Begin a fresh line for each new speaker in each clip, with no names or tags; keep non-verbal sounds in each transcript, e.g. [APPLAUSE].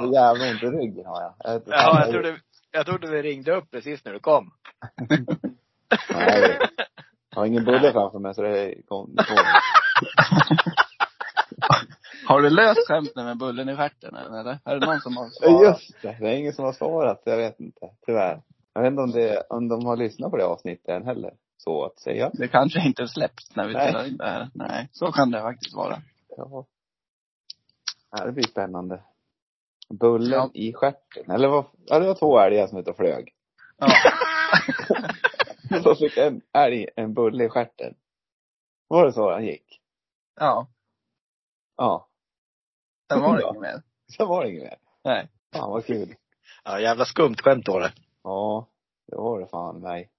Så jävla ont i ryggen har jag. jag vet inte.
[LAUGHS] Ja, jag trodde, jag trodde vi ringde upp precis när du kom.
Nej. Jag har ingen bulle framför mig så det kom, kom.
Har du löst skämten med bullen i stjärten eller? Är det någon som har
Ja, Just det, det är ingen som har svarat. Jag vet inte, tyvärr. Jag vet inte om, det, om de har lyssnat på det avsnittet än heller. Så att säga.
Det kanske inte släpps när vi
Nej.
spelar in det här. Nej, så kan det faktiskt vara.
Ja. Ja, det blir spännande. Bullen
Ja.
i stjärten. Eller vad, ja det var två älgar som var ute och flög.
Ja.
[LAUGHS] Så fick en älg en bulle i stjärten. Var det så han gick?
Ja,
Ja.
sen var det
Ja.
inget mer.
Sen var det inget mer.
Nej.
Fan vad kul.
Ja, jävla skumt skämt var det.
Ja, det var det fan mig.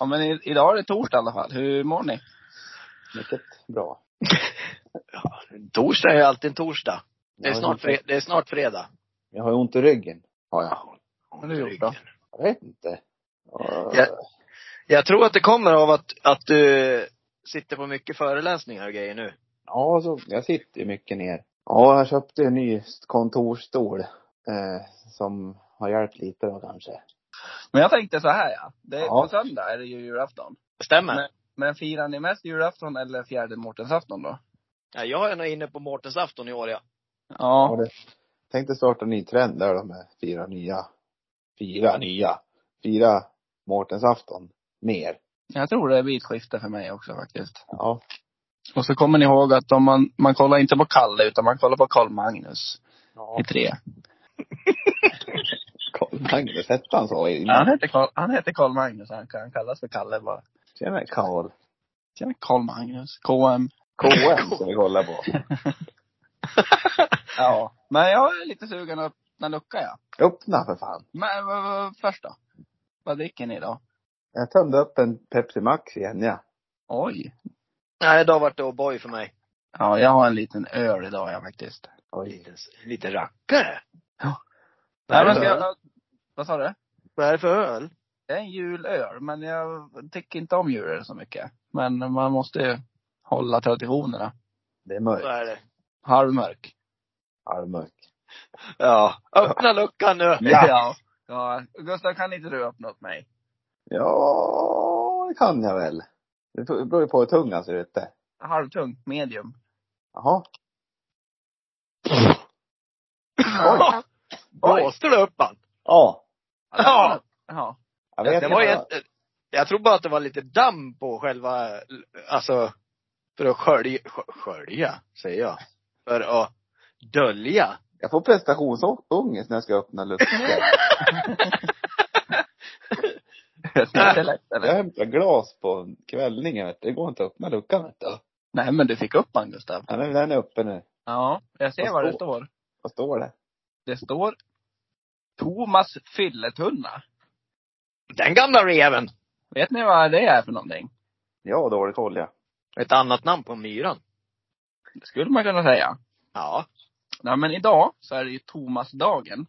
Ja men i, idag är det torsdag i alla fall. Hur mår ni?
Mycket bra.
Torsdag är ju alltid en torsdag. Det är
Jag har
snart,
ont-
fre- det är snart fredag.
Jag har ont i ryggen. Har jag.
Vad har du gjort då?
Jag vet inte. Ja.
Ja. Jag tror att det kommer av att, att du sitter på mycket föreläsningar och grejer nu.
Ja, så, jag sitter ju mycket ner. Ja, jag köpte en ny kontorsstol. Eh, som har hjälpt lite då kanske.
Men jag tänkte så här ja. Det är,
Ja.
På söndag är det ju julafton.
Stämmer?
Nej. Men firar ni mest julafton eller fjärde mårtensafton då?
Ja, jag är nog inne på Mårtensafton i år ja.
Ja,
Ja.
det, tänkte starta en ny trend där då med fyra nya. Fyra nya. Fyra Mårtensafton. Mer.
Jag tror det blir ett skifte för mig också faktiskt.
Ja.
Och så kommer ni ihåg att om man, man kollar inte på Kalle utan man kollar på Karl-Magnus
ja.
i tre.
Karl-Magnus hette han så
Han
innan?
heter Karl- han heter Karl-Magnus, han kan kallas för Kalle bara.
Tjena Karl.
Tjena Karl-Magnus, KM.
KM ska vi kolla på.
Ja, men jag är lite sugen att öppna lucka ja.
Öppna för fan.
Men vad- vad- först då? Vad dricker ni då?
Jag tömde upp en Pepsi Max igen ja.
Oj.
Nej, idag vart det O'boy för mig.
Ja, jag har en liten öl idag ja, faktiskt.
Oj.
Lite, lite rackare.
Ja.
Vad
Nej,
är det
men ska
för öl?
jag, vad sa du?
Vad är det för öl?
Det är en julöl, men jag tycker inte om julöl så mycket. Men man måste ju hålla traditionerna.
Det är
Vad
mörkt.
är det?
Halvmörk.
Halvmörkt.
Ja. Öppna luckan nu!
Ja.
ja. Ja. Gustav, kan inte du öppna åt mig?
Ja, det kan jag väl. Det beror ju på hur tung han ser ut det.
Halvtung, medium.
Jaha.
Oj. Blåste du upp han?
Ja.
Ja.
Ja.
Jag
Det
vet
Det
inte.
var
vad-
egent- jag tror bara att det var lite damm på själva, alltså, för att skölja, skö- skölja, säger jag. För att dölja.
Jag får prestationsångest när jag ska öppna luckan.
[LAUGHS] Det är inte lätt,
Jag
eller?
hämtar glas på kvällningen vet du. Det går inte att öppna luckan vet du.
Nej, men du fick upp han, Gustav.
Den är, den är uppe nu.
Ja, jag ser
Vad
vad det
står-
står.
Vad står det?
Det står Thomas Fylletunna.
Den gamla reven!
Vet ni vad det är för någonting?
Jag har dålig koll ja.
Ett annat namn på myran.
Det skulle man kunna säga.
Ja.
Nej, men idag så är det ju Thomasdagen.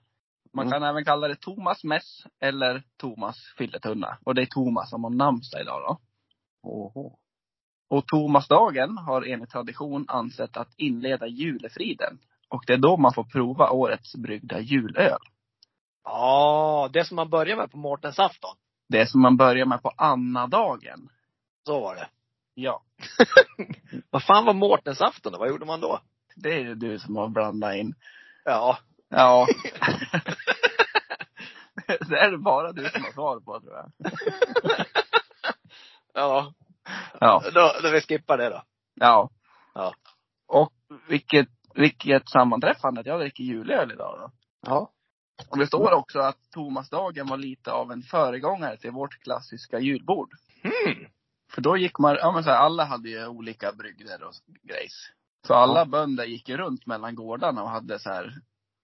Man
Mm.
kan även kalla det Thomas mäss eller Thomas fylletunna. Och det är Thomas som har namnsdag idag då.
Oho.
Och Thomasdagen har enligt tradition ansett att inleda julefriden. Och det är då man får prova årets bryggda julöl.
Ja, det som man börjar med på Mårtensafton.
Det som man börjar med på annadagen.
Så var det.
Ja,
Vad fan var Mårtensafton då? Vad gjorde man då?
det är ju du som har blandat in.
Ja.
Ja. det är det bara du som har svar på tror jag.
Ja.
Ja.
Då, då vi skippar det då.
Ja.
Ja.
Och vilket, vilket sammanträffande att jag dricker julöl idag då.
Ja.
Och det står också att Thomasdagen var lite av en föregångare till vårt klassiska julbord.
Hmm.
För då gick man, ja men så här, alla hade ju olika brygder och grejs. Så alla bönder gick ju runt mellan gårdarna och hade så här,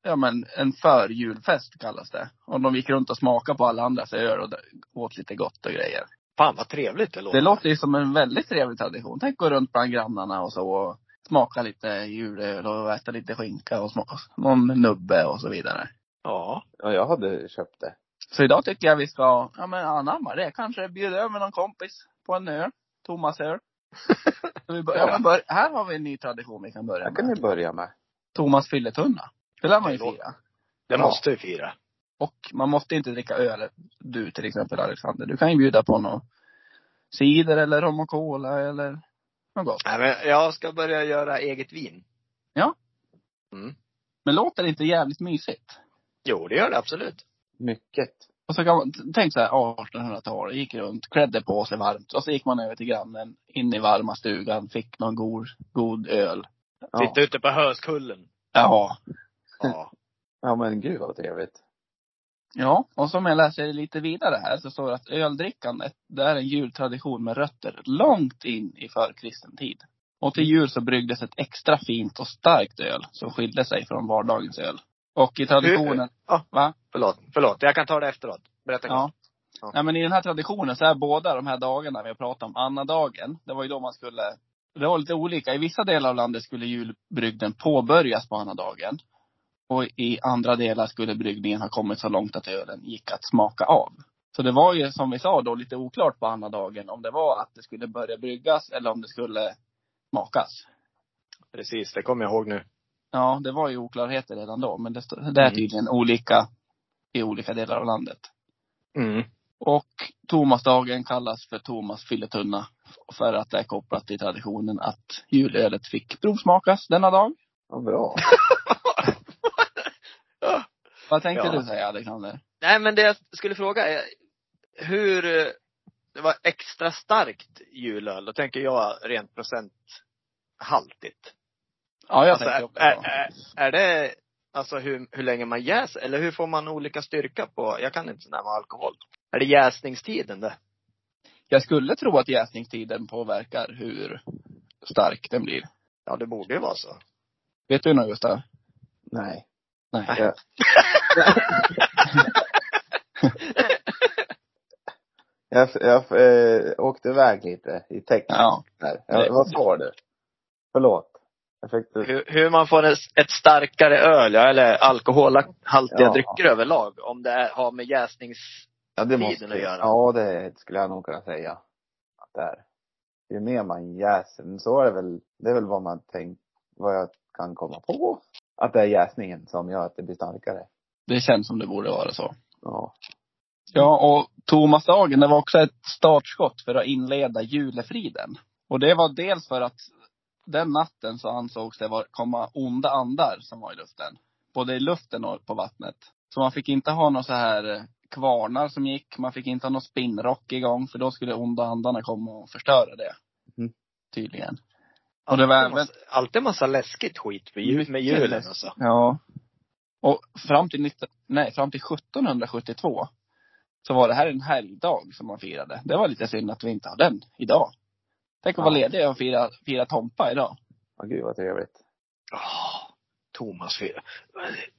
ja men en förjulfest kallas det. Och de gick runt och smakade på alla andras öl och åt lite gott och grejer.
Fan vad trevligt det låter.
Det låter ju som en väldigt trevlig tradition. Tänk gå runt bland grannarna och så och smaka lite julöl och äta lite skinka och smaka någon nubbe och så vidare.
Ja.
Ja, jag hade köpt det.
Så idag tycker jag vi ska ja, men anamma det. Kanske bjuda över någon kompis på en öl. Thomas öl. Så vi bör- ja. men bör- här har vi en ny tradition vi kan börja
Det kan ni
med.
börja med.
Thomas fylletunna. Det lär man ju
Det låter-
fira.
Det
Ja.
måste vi fira.
Och man måste inte dricka öl. Du till exempel Alexander. Du kan ju bjuda på någon cider eller rom och cola eller något gott.
Nej, men jag ska börja göra eget vin. Mm.
Men låter det inte jävligt mysigt?
Jo, det gör det absolut.
Mycket.
Och så kan man, t- tänk så här 1800-talet, gick runt, klädde på sig varmt och så gick man över till grannen, in i varma stugan, fick någon god, god öl.
Ja.
Sitta ute på Höskullen.
Ja.
Ja.
ja men gud vad trevligt.
Ja, och som jag läser lite vidare här så står det att öldrickandet, det är en jultradition med rötter långt in i förkristen tid. Och till jul så bryggdes ett extra fint och starkt öl som skilde sig från vardagens öl. Och i traditionen,
Förlåt, förlåt. Jag kan ta det efteråt. Berätta
ja.
klart. Ja.
Nej men i den här traditionen så är båda de här dagarna vi har pratat om, annadagen, det var ju då man skulle, det var lite olika. I vissa delar av landet skulle julbrygden påbörjas på annadagen. Och i andra delar skulle brygningen ha kommit så långt att ölen gick att smaka av. Så det var ju som vi sa då lite oklart på annadagen om det var att det skulle börja bryggas eller om det skulle smakas.
Precis, det kommer jag ihåg nu.
Ja, det var ju oklarheter redan då, men det, stå- det är
Mm.
tydligen olika i olika delar av landet.
Mm.
Och Tomasdagen kallas för Tomas fylletunna. För att det är kopplat till traditionen att julölet fick provsmakas denna dag.
Ja, bra.
Vad tänkte
Ja.
du säga Alexander?
Nej, men det jag skulle fråga är hur eh, det var extra starkt julöl. Då tänker jag rent procenthaltigt.
Ja, jag
Alltså,
tänkte också.
är, är, är det alltså hur, hur länge man jäser? Eller hur får man olika styrka på, jag kan inte sådär med alkohol. Är det jäsningstiden det?
Jag skulle tro att jäsningstiden påverkar hur stark den blir.
Ja, det borde ju vara så.
Vet du något Gustav?
Nej.
Nej.
Ja. Jag, jag eh, åkte iväg lite i texten
Ja.
här. Jag, vad sa du? Förlåt. Jag fick det.
Hur, hur man får ett ett starkare öl, ja, eller alkoholhaltiga
Ja.
drycker överlag, om det är, har med jäsnings...
Ja, det måste
Tiden att göra.
Ja, det skulle jag nog kunna säga. Att det är. Ju mer man jäser, men så är det väl, det är väl vad man tänkt, vad jag kan komma på. Att det är jäsningen som gör att det blir starkare.
Det känns som det borde vara så.
Ja.
Ja, och Tomasdagen, det var också ett startskott för att inleda julefriden. Och det var dels för att den natten så ansågs det vara- komma onda andar som var i luften. Både i luften och på vattnet. Så man fick inte ha några så här eh, kvarnar som gick. Man fick inte ha någon spinnrock igång för då skulle onda andarna komma och förstöra det.
Mhm.
Tydligen. Och det var
Alltid
även-
massa- Alltid massa läskigt skit med, jul, med
Mycket
julen alltså.
läskigt.
och så.
Ja. Och fram till, 19, nej, fram till 1772 så var det här en helgdag som man firade. Det var lite synd att vi inte har den idag. Tänk att vara
Ja.
ledig och fira, fira Tompa idag.
Ja, gud vad trevligt.
Oh, Thomas fyra.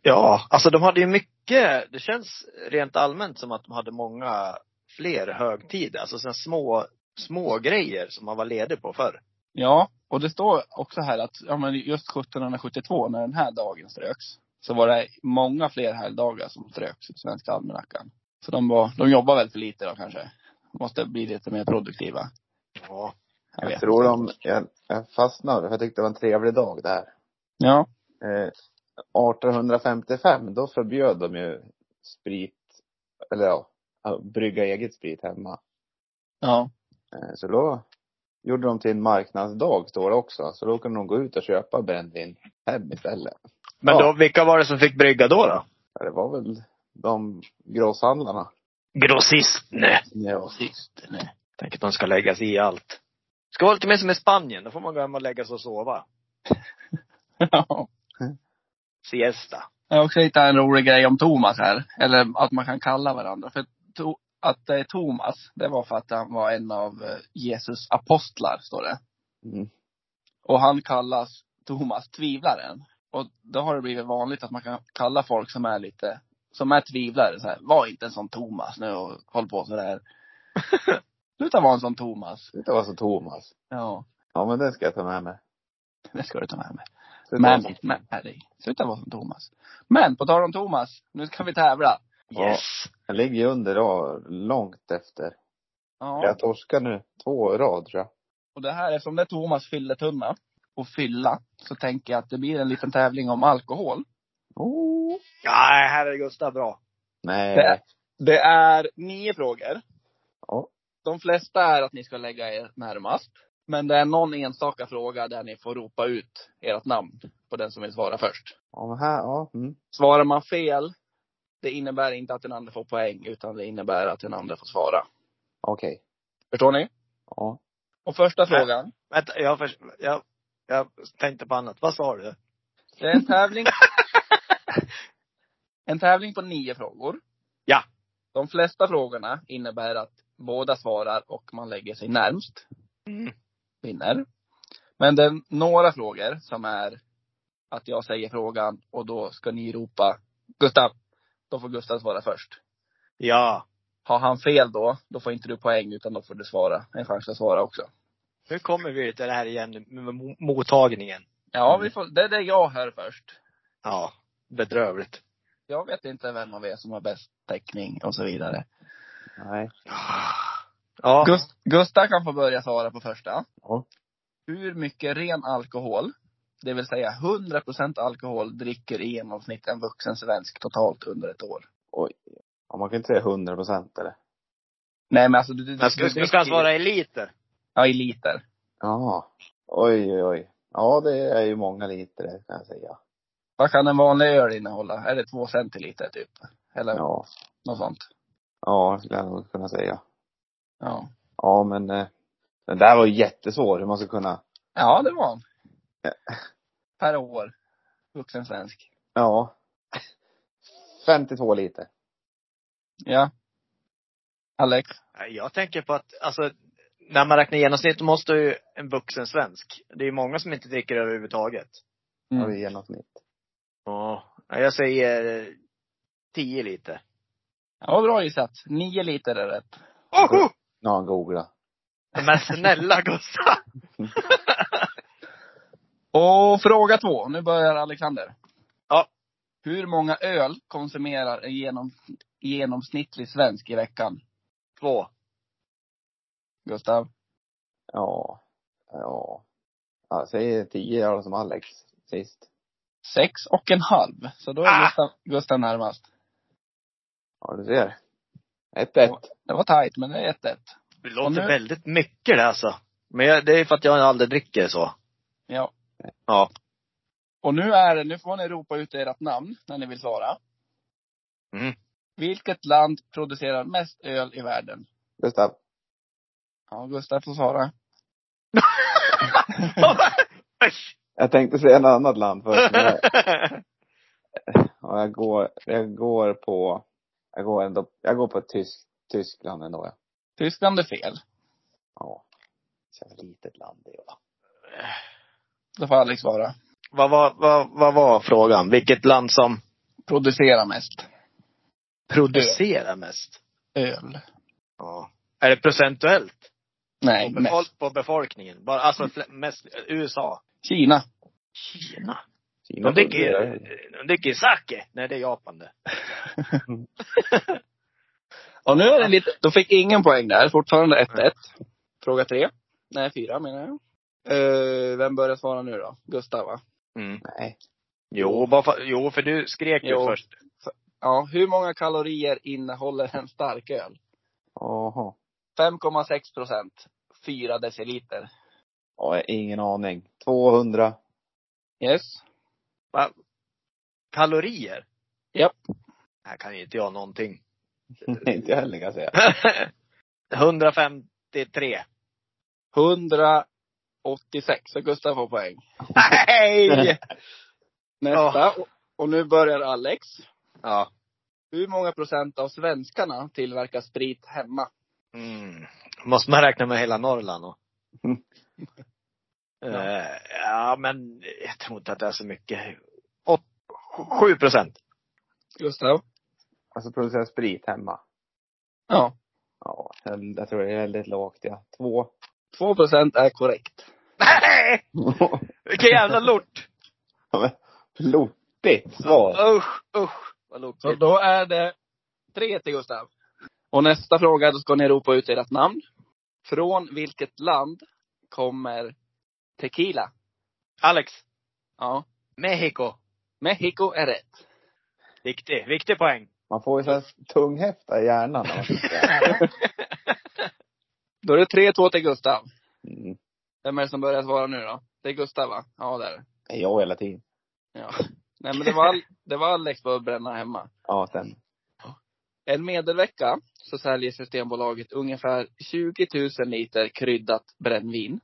Ja, alltså de hade ju mycket, det känns rent allmänt som att de hade många fler högtider. Alltså såna små, små grejer som man var ledig på förr.
Ja, och det står också här att ja, men just 1772 när den här dagen ströks så var det många fler helgdagar som ströks i Svenska almanackan. Så de, var, de jobbar väl för lite då kanske. Måste bli lite mer produktiva.
Ja.
Jag,
vet
tror
inte.
de, jag, jag fastnade för jag tyckte det var en trevlig dag det här.
Ja.
Eh, 1855, då förbjöd de ju sprit, eller ja, att brygga eget sprit hemma.
Ja.
Eh, Så då gjorde de till en marknadsdag står det också. Så då kunde de gå ut och köpa brännvin hem istället.
Men
Ja.
då, vilka var det som fick brygga då? då?
Ja, Det var väl de grosshandlarna.
Grossisten.
Ja. [LAUGHS]
Nej.
Tänk att de ska lägga sig i allt. Ska vara lite mer som i Spanien, då får man gå hem och lägga sig och sova.
ja.
Siesta.
Jag har också hittat en rolig grej om Thomas här. Eller att man kan kalla varandra. För to- att det är Thomas, det var för att han var en av eh, Jesus apostlar, står det.
Mm.
Och han kallas Thomas tvivlaren. Och då har det blivit vanligt att man kan kalla folk som är lite, som är tvivlare så här, var inte en sån Thomas nu och håll på sådär. Sluta vara en sån Thomas.
Sluta vara så Thomas.
Ja,
Ja men den ska jag ta med mig.
det ska du ta med mig.
Sluta vara
Men,
så-
men, nej, sluta vara som Thomas. Men på tal om Thomas, nu ska vi tävla.
Ja.
Yes.
Jag ligger ju under då, långt efter.
Ja.
Jag torskar nu två i rad tror jag.
Och det här, eftersom det är Thomas fylletunna och fylla, så tänker jag att det blir en liten tävling om alkohol.
Oh.
Nej, här är Gustav bra.
Nej.
Det- Det är nio frågor.
Ja.
De flesta är att ni ska lägga er närmast. Men det är någon enstaka fråga där ni får ropa ut ert namn på den som vill svara först.
Om här, ja. Mm.
Svarar man fel, det innebär inte att den andra får poäng, utan det innebär att den andra får svara.
Okej.
Förstår ni?
Ja.
Och första
Nej.
frågan.
Vänta, jag, förs- jag, jag tänkte på annat. Vad sa du?
Det är
[LAUGHS]
en tävling. en tävling på nio frågor.
Ja.
De flesta frågorna innebär att båda svarar och man lägger sig närmst.
Mm.
vinner. Men det är några frågor som är att jag säger frågan och då ska ni ropa Gustav. Då får Gustav svara först.
Ja.
Har han fel då, då får inte du poäng utan då får du svara. En chans att svara också.
Nu kommer vi till det här igen med mo- mottagningen.
Ja,
Mm.
vi får, det är det jag hör först.
Ja. Bedrövligt.
Jag vet inte vem av er som har bäst täckning och så vidare.
Nej.
Ja.
Gust, Gustav kan få börja svara på första.
Ja.
Hur mycket ren alkohol, det vill säga 100% alkohol, dricker i genomsnitt en vuxen svensk totalt under ett år?
Ja, man kan inte säga 100 procent eller?
Nej men alltså du, du,
Men ska,
du
ska han svara i liter?
Ja, i liter.
Ja. Oj, oj, oj. Ja, det är ju många liter det kan jag säga.
Vad kan en vanlig öl innehålla? Är det två centiliter typ? Eller
Ja.
något sånt?
Ja, skulle jag nog kunna säga.
Ja.
Ja, men eh, den där var ju jättesvår hur man ska kunna.
Ja, det var han.
Ja.
Per år. Vuxen svensk.
Ja. [LAUGHS] 52 liter.
Ja. Alex?
Nej, Jag tänker på att, alltså, när man räknar genomsnitt måste ju en vuxen svensk. Det är ju många som inte dricker överhuvudtaget.
Mm. Har vi genomsnitt.
Ja. Nej, Jag säger eh, 10 liter.
Ja, bra gissat. Nio liter är rätt.
Oho!
Ja, googla.
Men snälla Gustav!
Och fråga två. Nu börjar Alexander.
Ja.
Hur många öl konsumerar en genom, genomsnittlig svensk i veckan?
Två.
Gustav?
Ja. Ja. ja säg 10 jag som Alex sist.
Sex och en halv. Så då är
Ah!
Gustav, Gustav närmast.
Ja, du ser. 1-1.
Det var tajt, men det är 1-1.
Det
Och
låter
nu-
väldigt mycket det alltså. Men jag, det är för att jag aldrig dricker
[LAUGHS]
så.
Ja.
Ja.
Och nu är det, nu får ni ropa ut ert namn när ni vill svara.
Mm.
Vilket land producerar mest öl i världen?
Gustav.
Ja, Gustav får svara.
Jag tänkte säga ett annat land först. [LAUGHS] Men jag, ja, jag, går, jag går på, jag går ändå, jag går på tysk, Tyskland ändå. Ja.
Tyskland är fel.
ja. Så jävla litet land det är va.
Då får Alex svara.
[LAUGHS] vad, var, vad, vad var frågan? Vilket land som
Producerar mest
producerar mest?
öl.
Ja. Är det procentuellt?
Nej,
på,
mest.
befol- på befolkningen? Bara, alltså fl- mest USA?
Kina.
Kina?
Kina
De dricker ju,
producerar ju.
de dricker ju sake. Nej, det är Japan det.
Och nu är det lite, då fick ingen poäng där. Fortfarande 1-1. Fråga tre. Nej, fyra menar jag. Eh, vem börjar svara nu då? Gustav va?
Mm.
Nej.
Jo, bara för, jo, för du skrek ju
Jo.
först.
Ja, hur många kalorier innehåller en stark öl?
Jaha.
5,6 procent. 4 deciliter.
Ja, jag har ingen aning. [LAUGHS] 200.
Yes.
Kalorier?
Japp.
Här kan ju inte jag någonting. [LAUGHS]
inte jag heller kan jag säga.
153.
186. Så Gustav får poäng.
Nej!
Nästa. Och- Och nu börjar Alex.
ja.
Hur många procent av svenskarna tillverkar sprit hemma?
Mm. Måste man räkna med hela Norrland och?
Mm.
Eh, ja, men jag tror inte att det är så mycket. Åt, 7 procent. [LAUGHS]
Gustav?
Alltså producerar sprit hemma.
Ja.
Ja, jag, jag tror det är väldigt lågt ja. Två. [LAUGHS]
2 procent är korrekt.
Nej! Vilken jävla lort!
Plottigt svar.
Usch, usch. Vad
Så
lortigt.
då är det 3 till Gustav. Och nästa fråga, då ska ni ropa ut ert namn. Från vilket land kommer tequila?
Alex.
Ja.
Mexiko.
Mexiko är rätt.
Viktig, viktig poäng.
Man får ju så här tunghäfta i hjärnan. när man sitter här.
Då är det 3-2 till Gustav.
Mm.
Vem är det som börjar svara nu då? Det är Gustav va? Ja, det är det.
Det är Jag hela tiden.
Ja. Nej men det var, all, det var Alex på bränna hemma.
Ja, sen.
En medelvecka så säljer Systembolaget ungefär 20 000 liter kryddat brännvin.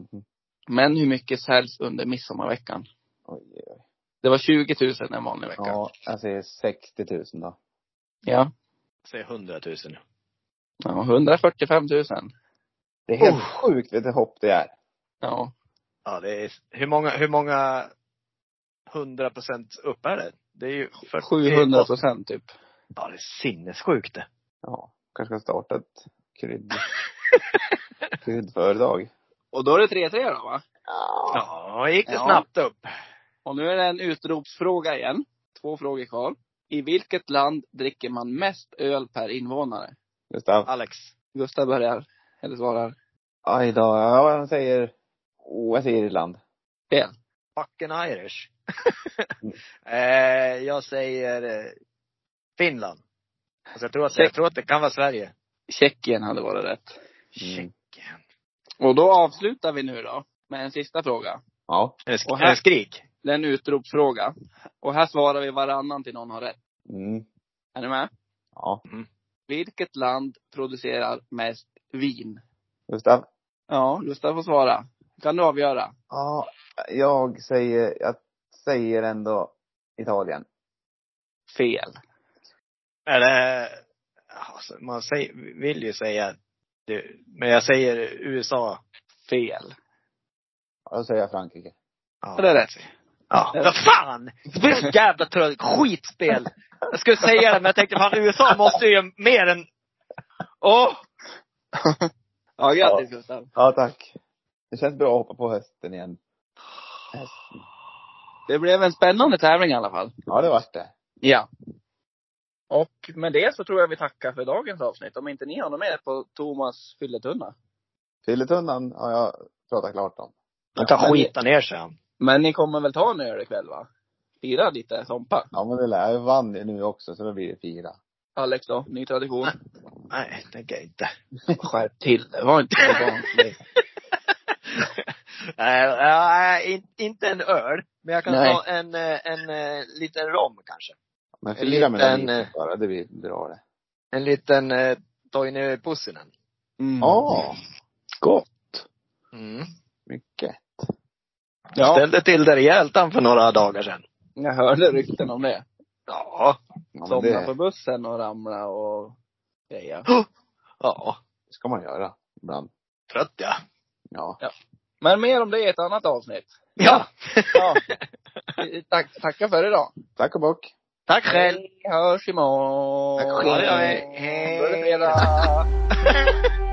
Mhm.
Men hur mycket säljs under midsommarveckan?
Oj, oj, oj.
Det var 20 000 en vanlig vecka.
Ja, alltså, jag säger 60 000 då.
Ja.
Säg 100 000.
ja 145 000.
Det är helt sjukt vilket hopp det är.
Ja.
Ja, det är, hur många, hur många 100 procent upp är det? Det är ju 40,
700 procent typ.
Ja, det är sinnessjukt det.
Ja, kanske ska starta ett krydd... kryddföretag.
Och då är det 3-3 då va?
Ja, gick det
Ja.
snabbt upp.
Och nu är det en utropsfråga igen. Två frågor kvar. I vilket land dricker man mest öl per invånare?
Gustav.
Alex.
Gustav börjar, eller svarar.
Aj då. Ja, jag säger... Oh, jag säger Irland.
Fel.
Fucking Irish. [LAUGHS] eh, jag säger eh, Finland. Alltså jag, tror att, jag tror att det kan vara Sverige.
Tjeckien hade varit rätt.
Mm.
Tjeckien.
Och då avslutar vi nu då med en sista fråga.
Ja.
Är det sk-
Och
är
här-
det skrik?
Det är en utropsfråga. Och här svarar vi varannan till någon har rätt.
Mm.
Är ni med?
Ja.
Vilket land producerar mest vin?
Gustav.
Ja, Gustav får svara. Kan du avgöra?
Ja, jag säger... Jag säger ändå Italien.
Fel.
Eller, alltså, man säger, vill ju säga det, men jag säger USA.
Fel.
Ja, Då säger jag Frankrike.
Ja.
Ja, det är rätt.
Ja. Vad fan! Det blir så jävla trött. Skitspel! Jag skulle säga det, men jag tänkte fan USA måste ju mer än...
[LAUGHS]
Åh!
Ja, grattis Gustav.
Ja, tack. Det känns bra att hoppa på hösten igen. Hästen.
Det blev en spännande tävling i alla fall.
Ja, det vart det.
Ja. Och med det så tror jag vi tackar för dagens avsnitt. Om inte ni har något mer på Thomas fylletunna.
Fylletunnan har jag pratat klart om.
Han kan skita ner sig. han.
Men ni kommer väl ta en öl ikväll va? Fira lite sompa.
Ja, men det lär. Jag vann ju nu också, så då blir det fyra.
Alex då, ny tradition.
Nej, det tänker jag inte.
[LAUGHS] Skärp till det var inte så vanligt.
Nej, nej, in, inte en öl. Men jag kan
Nej.
ta en, eh, en eh, liten rom kanske.
Men
En
fyra med
liten, eh,
lite bara, det blir bra det.
En liten eh, Toine Pussinen.
Mm.
Ja,
gott.
Mm.
mycket.
Ja,
Ställde till det rejält han för några dagar sedan.
jag hörde rykten om det.
Ja.
Ja, men
Somna på
det
bussen och ramla och grejer.
Ja.
ska man göra ibland.
Trött ja.
Ja.
Men mer om det i ett annat avsnitt.
Ja.
Ja. Tack, tacka för idag.
Tack och bock.
Tack själv.
Vi hörs imorgon.
Tack själv.
Då är det fredag.